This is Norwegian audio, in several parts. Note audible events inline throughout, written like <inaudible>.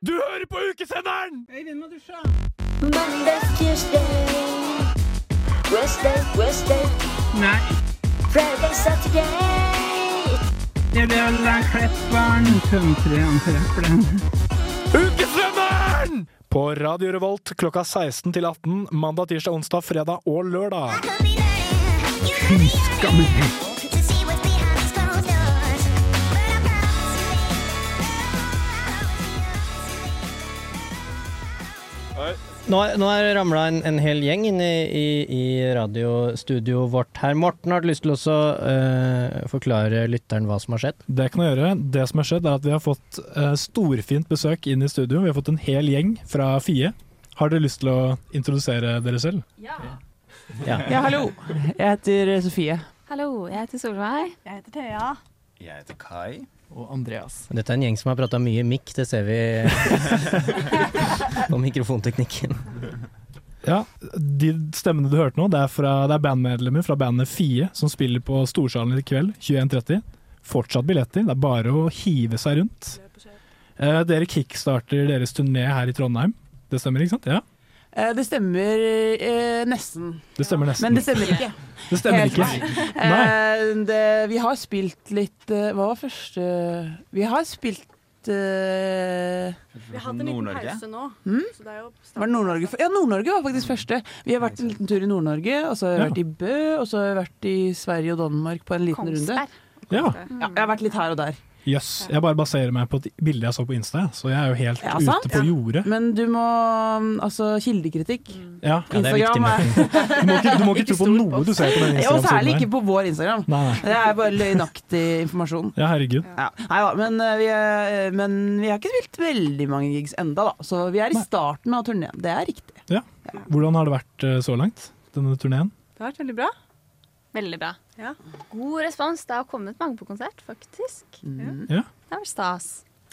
Du hører på ukesenderen! Øyvind må dusje! Monday, Tuesday, Wednesday, Wednesday, Nei, Friday, Saturday. det blir å la Klepperen tømtre han trefferen. Ukesenderen! På Radio Revolt klokka 16 til 18 mandag, tirsdag, onsdag, fredag og lørdag. Nå er, nå er ramla en, en hel gjeng inn i, i, i radiostudioet vårt her. Morten, har du lyst til å eh, forklare lytteren hva som har skjedd? Det kan jeg gjøre. Det som har skjedd, er at vi har fått eh, storfint besøk inn i studio. Vi har fått en hel gjeng fra FIE. Har dere lyst til å introdusere dere selv? Ja. Ja, hallo. Jeg heter Sofie. Hallo, jeg heter Solveig. Jeg heter Thea. Jeg heter Kai. Og Andreas. Dette er en gjeng som har prata mye mikk, det ser vi på mikrofonteknikken. Ja, De stemmene du hørte nå, det er, fra, det er bandmedlemmer fra bandet FIE som spiller på Storsalen i kveld 21.30. Fortsatt billetter, det er bare å hive seg rundt. Eh, dere kickstarter deres turné her i Trondheim. Det stemmer, ikke sant? Ja, Eh, det stemmer eh, nesten. Det stemmer nesten. Men det stemmer ikke. Det stemmer Helt ikke. Eh, det, vi har spilt litt eh, Hva var første Vi har spilt eh, Vi har hatt en liten Nord-Norge. pause nå. Mm? Så det er jo Var det Nord-Norge? f- Ja, Nord-Norge var faktisk første. Vi har vært en liten tur i Nord-Norge, og så har vi Ja. vært i Bø, og så har vi vært i Sverige og Danmark på en liten runde. Kongsberg. Ja, Ja, jeg har vært litt her og der. Jøss. Jeg bare baserer meg på et bilde jeg så på Insta, jeg, så jeg er jo helt Ja, sant? ute på jordet. Men du må mm, Altså, kildekritikk. Ja. Ja, det er viktig, Instagram er- Morten. Du, må ikke, du må ikke Mm. Ikke tro på stol noe du ser på den Og særlig Instagram-siden ikke på vår Instagram. Nei, nei. Det er bare løgnaktig informasjon. Ja, herregud. Ja. Nei da, men, eh, vi, eh, men vi har ikke spilt veldig mange gigs enda da. Så vi er i Nei. starten av turneen. Det er riktig. Hvordan har det vært eh, så langt, denne turneen? Det har vært veldig bra. Veldig bra. Ja. God respons. Det har kommet mange på konsert, faktisk. Mm. Ja. Det har vært stas.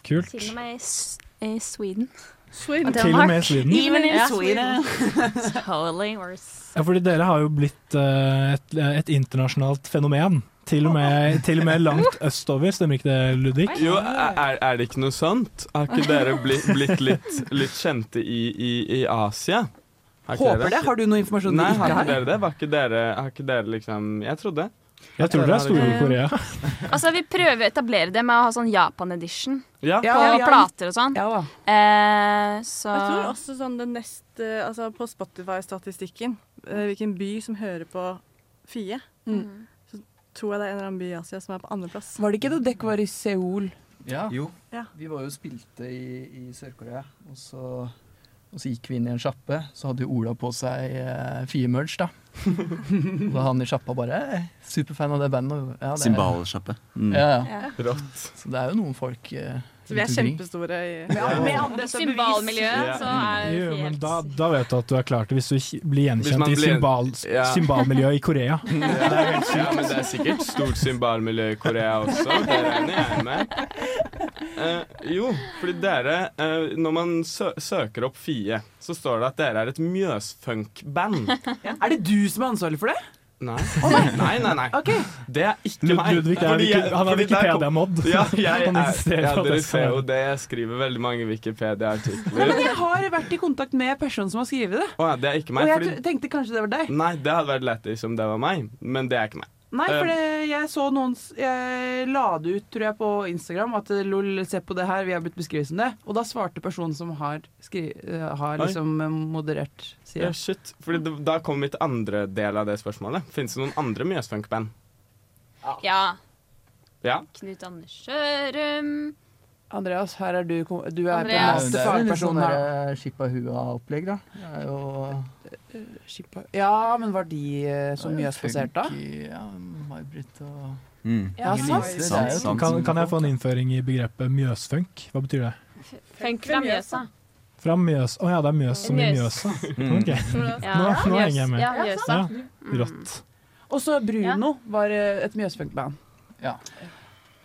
Kult. Til og med i, s i Sweden. Sweden. Til og med i Sweden. Even in Ja. Sweden. <laughs> Holy horse. Ja, fordi dere har jo blitt eh, et, et internasjonalt fenomen. Til og, med, til og med langt østover, stemmer ikke det, Ludvig? Jo, eh, er, er det ikke noe sant? Har ikke dere blitt, blitt litt, litt kjente i, i, i Asia? Har ikke Håper dere- det. Har du noe informasjon Nei, du har ikke ikke har? dere det? Var ikke dere, har ikke dere liksom Jeg trodde. Jeg tror det er Eh, Stor-Korea. Altså, vi prøver å etablere det med å ha sånn Japan-edition Ja. på Ja, ja. plater og sånn. Ja da. Eh, så Jeg tror også sånn det neste Altså på Spotify-statistikken, eh, hvilken by som hører på Fie, Mm. så tror jeg det er en eller annen by i Asia som er på andreplass. Var det ikke da dere var i Seoul? Ja. Jo, Ja. vi var jo og spilte i, i Sør-Korea, og så, og så gikk vi inn i en sjappe. Så hadde jo Ola på seg eh, Fie-merch, da. Og da han i sjappa bare eh, Superfan av det bandet. og- Ja, det er- Symbalsjappe. Mm. Ja, ja. Ja. Rått. Så det er jo noen folk eh, Så vi er rundt omkring. kjempestore i I symbalmiljøet så er Jo, vi men helt da, da vet du at du er klar til, hvis du ikke blir Hvis gjenkjent i man blir- symbal, Ja. symbalmiljøet i <laughs> Korea. Ja, men det er sikkert stort symbalmiljø i Korea også. Det regner jeg med. Eh, jo, fordi dere eh, Når man sø søker opp Fie, så står det at dere er et mjøsfunk-band. Er det du som er ansvarlig for det? Nei. nei, nei, nei. Ok. Det er ikke Lud- meg. Ludvig er Fordi jeg- Wiki- han er fordi der kom- Wikipedia-mod. <laughs> Ja, jeg Han er, insisterer ja, på at dere jeg skal ser jo være- det. Jeg skriver veldig mange Nei, men Wikipedia-artikler. jeg har vært i kontakt med personen som har skrevet det. Å ja, det er ikke Og meg. jeg Fordi, tro- tenkte kanskje det var deg. nei, det hadde vært lættis om det var meg, men det er ikke meg. Nei, for Eh. det, jeg så noen s- Jeg la det ut, tror jeg, på Instagram at eh, lol, se på det her, vi har blitt beskrevet som det. Og da svarte personen som har, skri, eh, har Oi. liksom eh, moderert Ja, sida. shit. Fordi det, da kommer mitt andre del av det spørsmålet. Fins det noen andre mjøsfunk-band? Ah. Ja. Ja. Knut Anders Sjørum. Andreas, her er du kom- Du er på en Andreas. måte Det er jo litt sånn fagperson her. der skippa hua-opplegg, da. Det er jo Skippa- Ja, men var de eh, så mye spasert da? funky, Ja, May-Britt og Mm. Ja, Inger sant. Lise, det er Sant, jo sant. Kan, kan jeg få en innføring i begrepet mjøsfunk? Hva betyr det? Funk fra Mjøsa. Fra Mjøs... Å ja, det er Mjøs som i Mjøs. Mjøsa. Mm. Ok, Ja, Nå- nå Mjøs- henger jeg med. Ja, Mjøsa. Mm. Ja, rått. Og så Bruno var eh, et mjøsfunkband. Ja.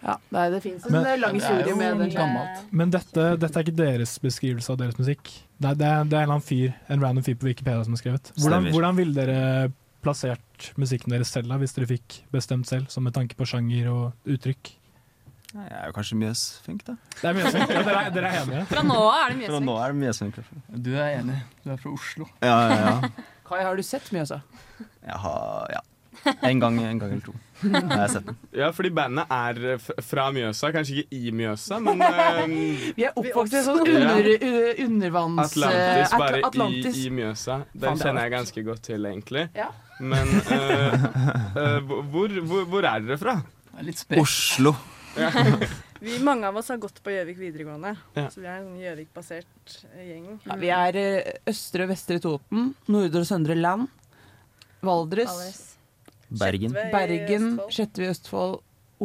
Ja, nei, det fins en eh, Men- lang Det er historie jo med det. gammelt. Men dette, dette er ikke deres beskrivelse av deres musikk. Det er, det er, det er en eller annen fyr, en random fyr på Wikipedia som har skrevet. Hvordan, Stemmer. hvordan ville dere plassert musikken deres selv da, hvis dere fikk bestemt selv, som med tanke på sjanger og uttrykk? Nei, Jeg er jo kanskje Mjøsfink, da. Det er mye sånn. Ja, dere, er- dere er enige? Fra nå av er det Fra nå Mjøsvik. er det Mjøsfink. i hvert fall. Du er enig. Du er fra Oslo. Ja, ja, ja. <laughs> Kai, har du sett altså? Mjøsa? Jeg har ja. En gang, en gang eller to. Jeg har sett den. Ja, fordi bandet er eh, f- fra Mjøsa, kanskje ikke i Mjøsa, <laughs> men eh, Vi er oppvokst i en sånn Ja. under, u- undervanns... Atlantis, eh, bare Atl- Atlantis. I, i Mjøsa. Faen, Den det er kjenner jeg ganske godt til, egentlig. Ja. <laughs> Men eh, eh, hvor, hvor, hvor er dere fra? <laughs> Det er litt spredt. Oslo. Vi, mange av oss har gått på Gjøvik videregående, Ja. så vi er en sånn Gjøvik-basert eh, gjeng. Ja, vi er eh, østre og vestre Toten, nordre og søndre land, Valdres, Bergen. Skjetve i Bergen, Østfold. Skjetve i Østfold,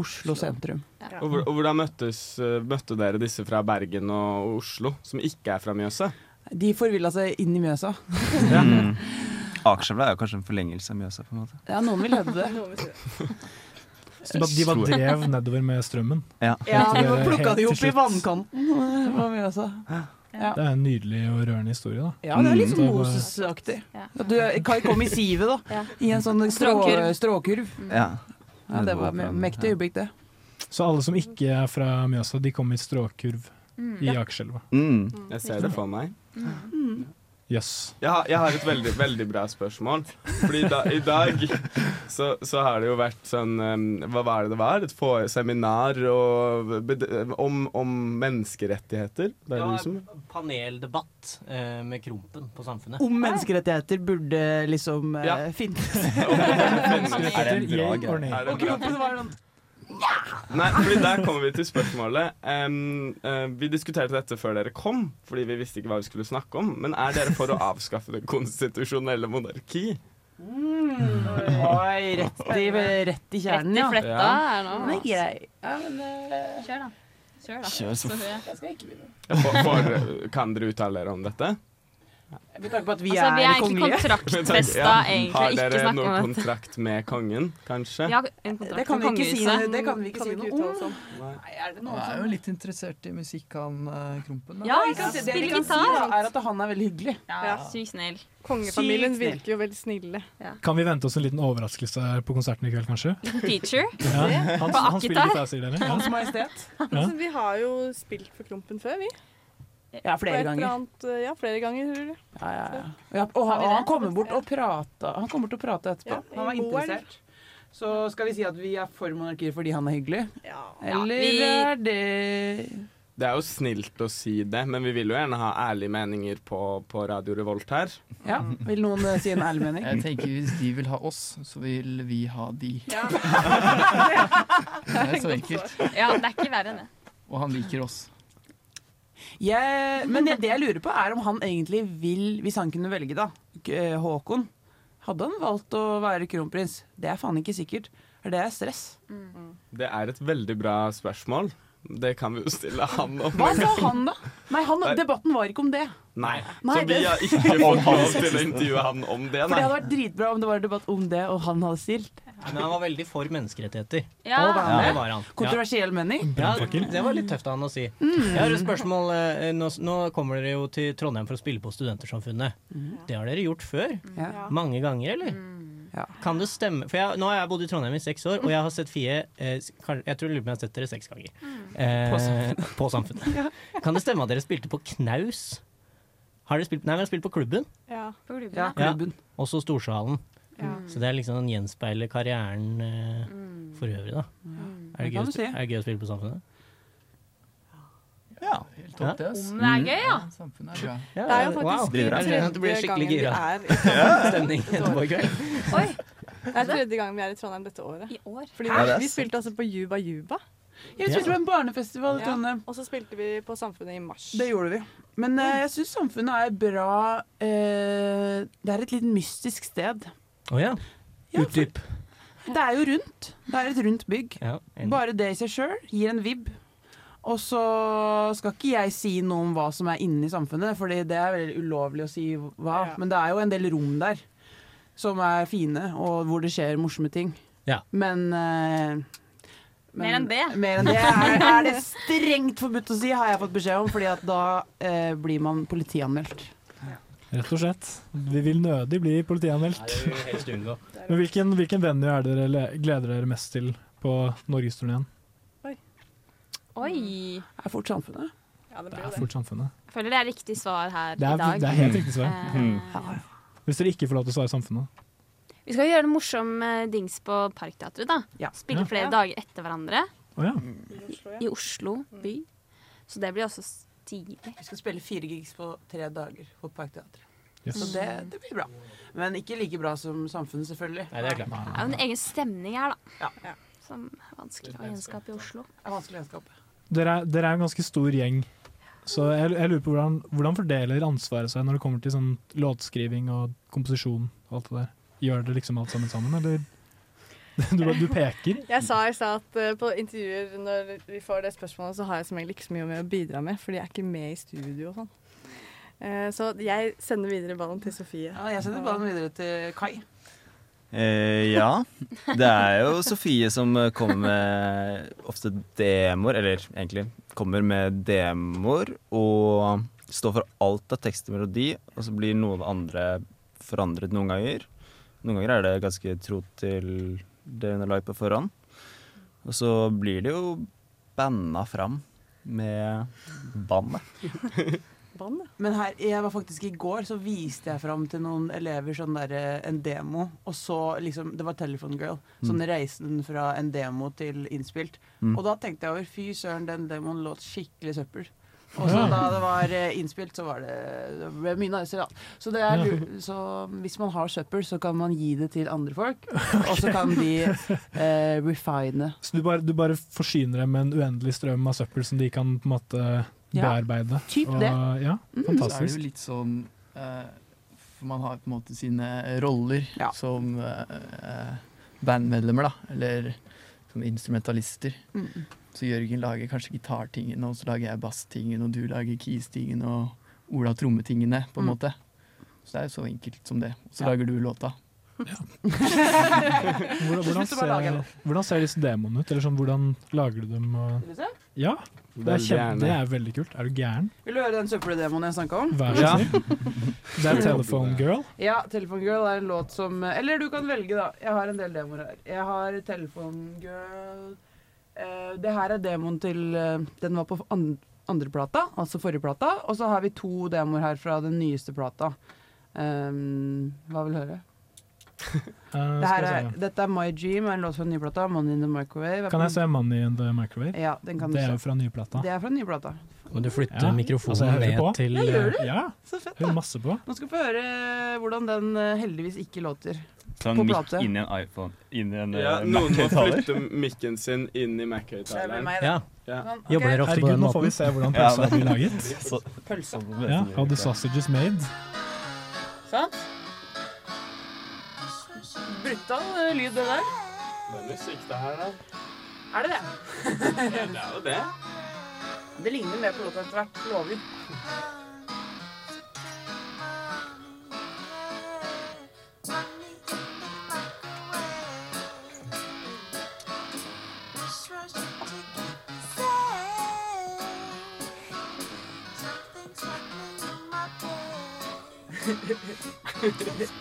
Oslo sentrum. Og, hvor- og hvordan møttes, eh, møtte dere disse fra Bergen og Oslo, som ikke er fra Mjøsa? De forvilla seg inn i Mjøsa. Mm. Akerselva er jo kanskje en forlengelse av Mjøsa. på en måte. <laughs> Ja, noen vil hevde det. Noe vi sier. Så da- de bare drev nedover med strømmen. Ja. Ja, Helt de til var det- plukka helt de til opp i slutt. <laughs> vannkanten eh, på Mjøsa. Det er en nydelig og rørende historie, da. Ja, det er litt sånn Mm. Moses-aktig. Ja. At du- Kai kom i sivet, da. Ja. I en sånn strå, Stråkurv. stråkurv. Mm. ja. Ja, det var me- mektig øyeblikk, det. Så alle som ikke er fra Mjøsa, de kommer i stråkurv Mm. i Akerselva. Mm. Jeg ser det for meg. Mm. Jøss. Jeg har, jeg har et veldig, veldig bra spørsmål. Fordi da, i dag så, så har det jo vært sånn eh, Hva var det det var? Et få- seminar og, bed- om, om menneskerettigheter? Det liksom. er du som <laughs> paneldebatt eh, med Krompen på Samfunnet. Om menneskerettigheter burde liksom eh, Ja. finnes. Er det en bra Jeg greie? ordner. er det Og kroppen var sånn Nei, fordi der kommer vi til spørsmålet. Em, eh, vi diskuterte dette før dere kom, fordi vi visste ikke hva vi skulle snakke om. Men er dere for å avskaffe det konstitusjonelle monarki? Mm, Oi, rett i, rett i kjernen, Rett i ja. fletta Ja. er nå. grei. Ja, men eh, Kjør, da. Kjør, da. Kjør, så Så hører jeg. jeg skal ikke begynne. For, for, kan dere uttale dere om dette? Med tanke på at vi Altså, vi er er egentlig kongelige. <laughs> kontraktfesta, Ja. Har egentlig. Ikke dere snakk noen om det. kontrakt med kongen, kanskje? Ja, en kontrakt <laughs> Det kan vi med ikke si, kongehuset. det kan vi ikke si noe om. uttale sånn? oss om. Nei, er det Han noe er jo som litt interessert i musikk, han eh, Krompen. Da. Ja, Nei, jeg kan sant, det vi spille kan si, da, gitar. er at han er veldig hyggelig. Ja. Sykt snill. Kongefamilien Sykt snill. virker jo veldig snille. Kan vi vente oss en liten overraskelse her på konserten i kveld, kanskje? <laughs> Feature. Ja. Han, På han spiller Akita? gitar, sier dere? Ja. Hans Majestet. <laughs> Ja. Altså, vi har jo spilt for Klumpen før, vi. Ja, På et flere eller ganger. annet, eh, ja, flere ganger. tror jeg. Ja, ja, ja. ja, og han, og han kommer bort og prater. Han kommer til å prate etterpå. Ja, i han var boeren. interessert. Så skal vi si at vi er for monarkiet fordi han er hyggelig? Ja. Eller vi- er det Det er jo snilt å si det, men vi vil jo gjerne ha ærlige meninger på, på Radio Revolt her. Ja, vil noen eh, si en ærlig mening? Jeg tenker Hvis de vil ha oss, så vil vi ha de. Ja. <laughs> Det er så enkelt. Ja, det er ikke verre enn det. Og han liker oss. Jeg, men det jeg lurer på, er om han egentlig vil Hvis han kunne velge, da. K- eh, Håkon. Hadde han valgt å være kronprins? Det er faen ikke sikkert. For det er stress. Det er et veldig bra spørsmål. Det kan vi jo stille han om. Hva sa han, da? Nei, han, Debatten var ikke om det. Nei. Nei, Så vi det- har <laughs> ikke fått lov til å intervjue han om det, For nei. det hadde vært dritbra om det var en debatt om det, og han hadde stilt. Men han var veldig for menneskerettigheter. Ja. Å, hva Ja, Ja. det var han. Ja. Kontroversiell mening. Ja, det var litt tøft av han å si. Jeg har et spørsmål. eh, Nå, nå kommer dere jo til Trondheim for å spille på Studentersamfunnet. Det har dere gjort før. Ja. Mange ganger, eller? Ja. Kan det stemme? For jeg, nå har jeg bodd i Trondheim i seks år, og jeg har sett Fie eh, s- kan- Jeg tror jeg lurer på om jeg har sett dere seks ganger. Eh, <laughs> på Samfunnet. Kan det stemme at dere spilte på Knaus? Har dere spilt, nei, vi har spilt på Klubben, Ja. På klubben, Ja, ja. klubben. og så Storsalen. Ja. Så det er liksom den gjenspeiler karrieren eh, for øvrig, da. Er, det Det gøy, kan å du spi- si. er det gøy å spille på Samfunnet? Ja, helt topp, det. ass. Om det er gøy, ja. Samfunnet er bra. Ja, Det er jo faktisk Driver Eh, Jeg kjenner at det blir tredje skikkelig gangen vi gira <laughs> er i Trondheim. stemning etterpå i kveld. Mm. Oi, Det er tredje gangen vi er i Trondheim dette året. i år. Fordi Hæ? vi, vi spilte altså på Juba Juba, Jeg spilte på en barnefestival i Ja. Trondheim. og så spilte vi på Samfunnet i mars. Det gjorde vi. Men eh, jeg syns samfunnet er bra eh, Det er et litt mystisk sted. Å ja. Ja, for- Utdyp. Det er jo rundt. Det er et rundt bygg. Ja, enig. Bare det i seg sjøl gir en vib. Og så skal ikke jeg si noe om hva som er inni samfunnet, Fordi det er veldig ulovlig å si hva. Ja. Men det er jo en del rom der som er fine, og hvor det skjer morsomme ting. Ja. Men, eh, Mer enn det. Mer enn det er, er det strengt forbudt å si, har jeg fått beskjed om, Fordi at da eh, blir man politianmeldt. Rett og slett. Vi vil nødig bli Nei, politianmeldt. det vil vi helst unngå. Men hvilken, hvilken venue er dere le- gleder dere mest til på norgesturneen? Oi. Det er fort samfunnet. Ja, det Det er fort samfunnet. Jeg føler det er riktig svar her Det i er, dag. det er Mm. helt riktig svar. Eh, Hvis dere ikke får lov til å svare samfunnet. Vi skal jo gjøre det morsom eh, dings på Parkteatret, da. Ja. Spille Ja. flere Ja. dager etter hverandre Å ja. i Oslo by. Så det blir også stilig. Vi skal spille fire gigs på tre dager på Parkteatret. Yes. Så det, det blir bra. Men ikke like bra som Samfunnet, selvfølgelig. Nei, det er klart. Det er jo en egen stemning her, da. Ja. Ja. Som er vanskelig å gjenskape i Oslo. Det er vanskelig å gjenskape. Dere, er, dere er en ganske stor gjeng. Så jeg, jeg lurer på hvordan, hvordan fordeler ansvaret seg når det kommer til sånn låtskriving og komposisjon og alt det der? Gjør dere liksom alt sammen sammen, eller? <laughs> Du, bare- du peker. Jeg sa i stad at eh, på intervjuer, når vi får det spørsmålet, så har jeg som regel ikke så mye med å bidra med, fordi jeg er ikke med i studio og sånn. Eh, Så jeg sender videre ballen til Sofie. Ja, jeg sender ballen videre til Kai. Eh, ja. Det er jo Sofie som eh, kommer med ofte demoer, eller egentlig kommer med demoer og står for alt av tekst og melodi, og så blir noe av det andre forandret noen ganger. Noen ganger er det ganske tro til det hun har lagd på forhånd. Og så blir det jo banna fram med bann. da. Bann, da. Men her, jeg var faktisk i går, så viste jeg fram til noen elever sånn der, eh, en demo. Og så liksom, Det var Telephone Girl. Sånn reisen fra en demo til innspilt. Mm. Og da tenkte jeg over Fy søren, den demoen låt skikkelig søppel. Og så da det var eh, innspilt, så var det, det ble mye nicer, da. Så, det er, lu- så hvis man har søppel, så kan man gi det til andre folk. Og så kan de eh, refine. Så du bare, du bare forsyner dem med en uendelig strøm av søppel som de kan på en måte Ja. bearbeide. Typ og, det. Mm. Ja, Så er det fantastisk. jo litt sånn eh, For man har på en måte sine roller Ja. som eh, eh, bandmedlemmer, da. Eller som instrumentalister. Mm. Så Jørgen lager kanskje gitartingene, og så lager jeg basstingen, og du lager keys-tingen, og Ola trommetingene, på en Mm. måte. Så det er jo så enkelt som det. Og så Ja. lager du låta. <laughs> Hvordan, hvordan, Slutt å bare lage ser, en. hvordan ser disse demoene ut? Eller sånn, hvordan lager du dem? Og... Vil du se? Ja, det er, Veldig kjempe, gjerne. det er veldig kult. Er du gæren? Vil du høre den søppeldemoen jeg snakka om? Vær så Ja. snill. Det er Telephone Girl. Ja, Telephone Girl er en låt som Eller du kan velge, da. Jeg har en del demoer her. Jeg har Telephone Girl eh, Det her er demoen til eh, Den var på an andre plata, altså forrige plata. Og så har vi to demoer her fra den nyeste plata. Ehm, hva vil du høre? Eh, Det her skal er, jeg se. dette er My Dream, er en låt fra den nye plata. Money in the Microwave. er Kan på- jeg se Money in the Microwave? Ja, den kan du Det er jo se. fra nye plata. Det er fra den nye plata. Må du flytte Ja. mikrofonen Altså, jeg hører ned på. til Jeg gjør Ja, Så fett, da. hører masse på. Nå skal vi få høre hvordan den eh, heldigvis ikke låter. Ta På en mic plate. Sånn inn i en iPhone. Inn i en Ja, eh, noen må Mac-høyttaler. flytte mikken sin inn Det i blir Mac-høyttaleren. meg, Ja. det. Ja. Sånn, ok. Jobber dere ofte på Herregud, den nå får vi måten? se hvordan Ja, pølsa men- blir laget. Så- Pølsa på Ja, møtet. How the sausage is made. Sant? Brutal eh, lyd, det der. Det er musikk, det her, da. Er det det? Ja, det er jo det. Det ligner mer på låta etter hvert. Lover.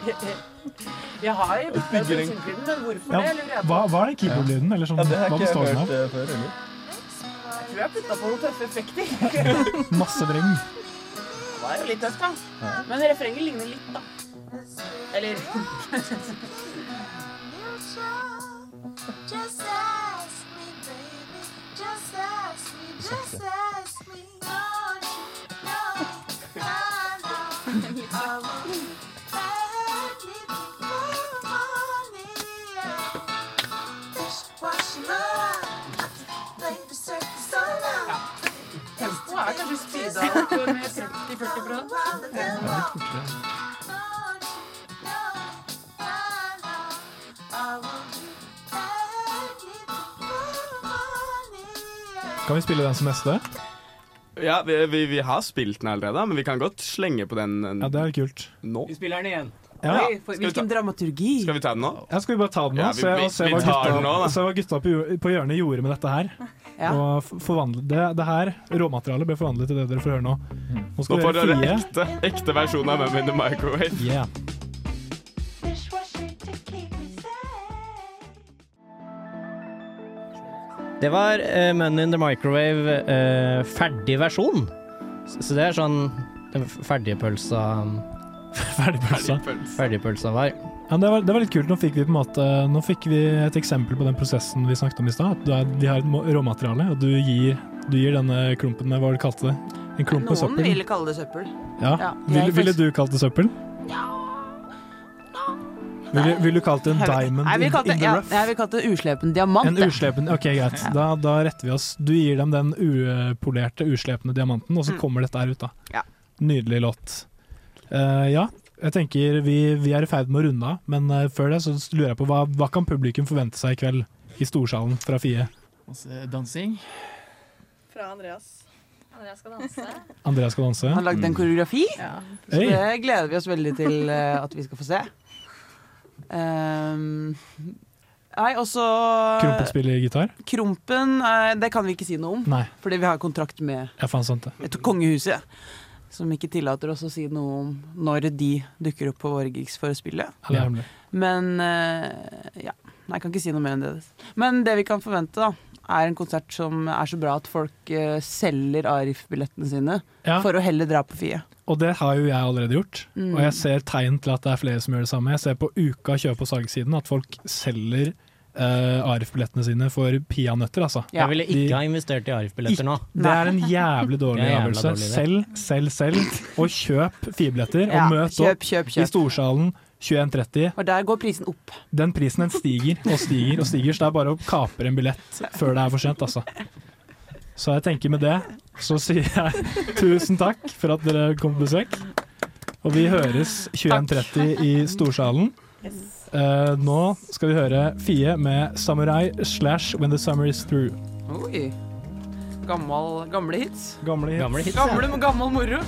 Jeg har jo bestemt Bygger en- musikkfilmen, men hvorfor Ja, det? lurer jeg på. hva, hva er det keyboardlyden? Eller sånn, Ja, det har hva ikke jeg består den hørt av? eh, før. Eller? Jeg tror jeg har putta på noen tøffe effekter. <laughs> eh. Masse dreng. Det var jo litt tøft, da. Men refrenget ligner litt, da. <laughs> Eller Just ask me, baby. Just ask me. Just ask me. Don't you know me? I know. I won't beg you for money. Dishwash love. Like the circus so long. tempoet er kanskje speeda opp med 30-40 Don't prat. you know I know. I won't beg you for money. Kan vi spille den som neste? Ja, vi, vi, vi har spilt den allerede, men vi kan godt slenge på den eh, Ja, det er kult. nå. Vi spiller den igjen. Ja. Oi, for- vi ta- Hvilken dramaturgi. Skal vi ta den nå? Ja, skal vi bare ta den nå? Ja, og vi- se, vi- og se, vi hva tar gutta, den nå, da. se hva gutta på, ju- på hjørnet gjorde med dette her. Ja. Og f- forvandle, det, det her råmaterialet ble forvandlet til det dere får høre nå. Nå Nå skal får dere fie. dere ekte, ekte versjon av Mum in the Microwave. Yeah. dishwasher to keep me safe. Det var eh, Mun in the Microwave eh, ferdig versjon. Så, så det er sånn den f- ferdige pølsa Ferdig pølsa. Ferdige pølsa var. Ja, det, var, det var litt kult. Nå fikk vi på en måte Nå fikk vi et eksempel på den prosessen vi snakket om i stad. At du er, de har et må- råmateriale, og du gir, du gir denne klumpen med hva var det du kalte det? En klump med Noen søppel? vil kalle det søppel. ja. ja. Ville, Jeg ville du faktisk- kalt det søppel? Ville, ville du kalt det en diamond Jeg vil in, kalle det, in the ja, rough? jeg vil kalle det uslepen diamant. En jeg. uslepen Ok, greit. Da, da retter vi oss. Du gir dem den upolerte, uslepne diamanten, og så Mm. kommer dette her ut, da. Ja. Nydelig låt. Eh, ja, jeg tenker vi, vi er i ferd med å runde av, men eh, før det så lurer jeg på hva, hva kan publikum forvente seg i kveld i Storsalen fra Fie? Masse dansing. Fra Andreas. Andreas skal danse. Andreas skal danse. Han lagde en koreografi, Ja. så Hey. det gleder vi oss veldig til eh, at vi skal få se. Ehm, nei, og så Krumpen spiller gitar? Krompen, eh, det kan vi ikke si noe om, Nei, fordi vi har kontrakt med jeg fant sant det. et kongehuset. Som ikke tillater oss å si noe om når de dukker opp på våre gigs for å spille. Det er hemmelig. Men eh, ja. Nei, jeg kan ikke si noe mer enn det. Men det vi kan forvente, da, er en konsert som er så bra at folk eh, selger Arif-billettene sine Ja, for å heller dra på Fie. og det har jo jeg allerede gjort. Mm. Og jeg ser tegn til at det er flere som gjør det samme. Jeg ser på Uka kjøp- og salgssiden at folk selger eh, ARF-billettene sine for peanøtter, altså. Ja. Jeg ville De- ikke ha investert i Arif-billetter nå. Det er en jævlig dårlig <laughs> Det er jævla avgjørelse. dårlig idé. Selv, selv, selv. Og kjøp firebilletter, og Ja, møt kjøp, opp kjøp, i kjøp. Storsalen 21.30. Og der går prisen opp. Den prisen den stiger og stiger og stiger, så det er bare å kapre en billett før det er for sent, altså. Så jeg tenker med det, så sier jeg tusen takk for at dere kom på besøk. Og vi høres 21.30 i Storsalen. Eh, nå skal vi høre Fie med 'Samurai' slash 'When the Summer Is Through'. Oi. Gammal, gamle hits. Gamle hit. Gamle hits. Gamle, gammel moro.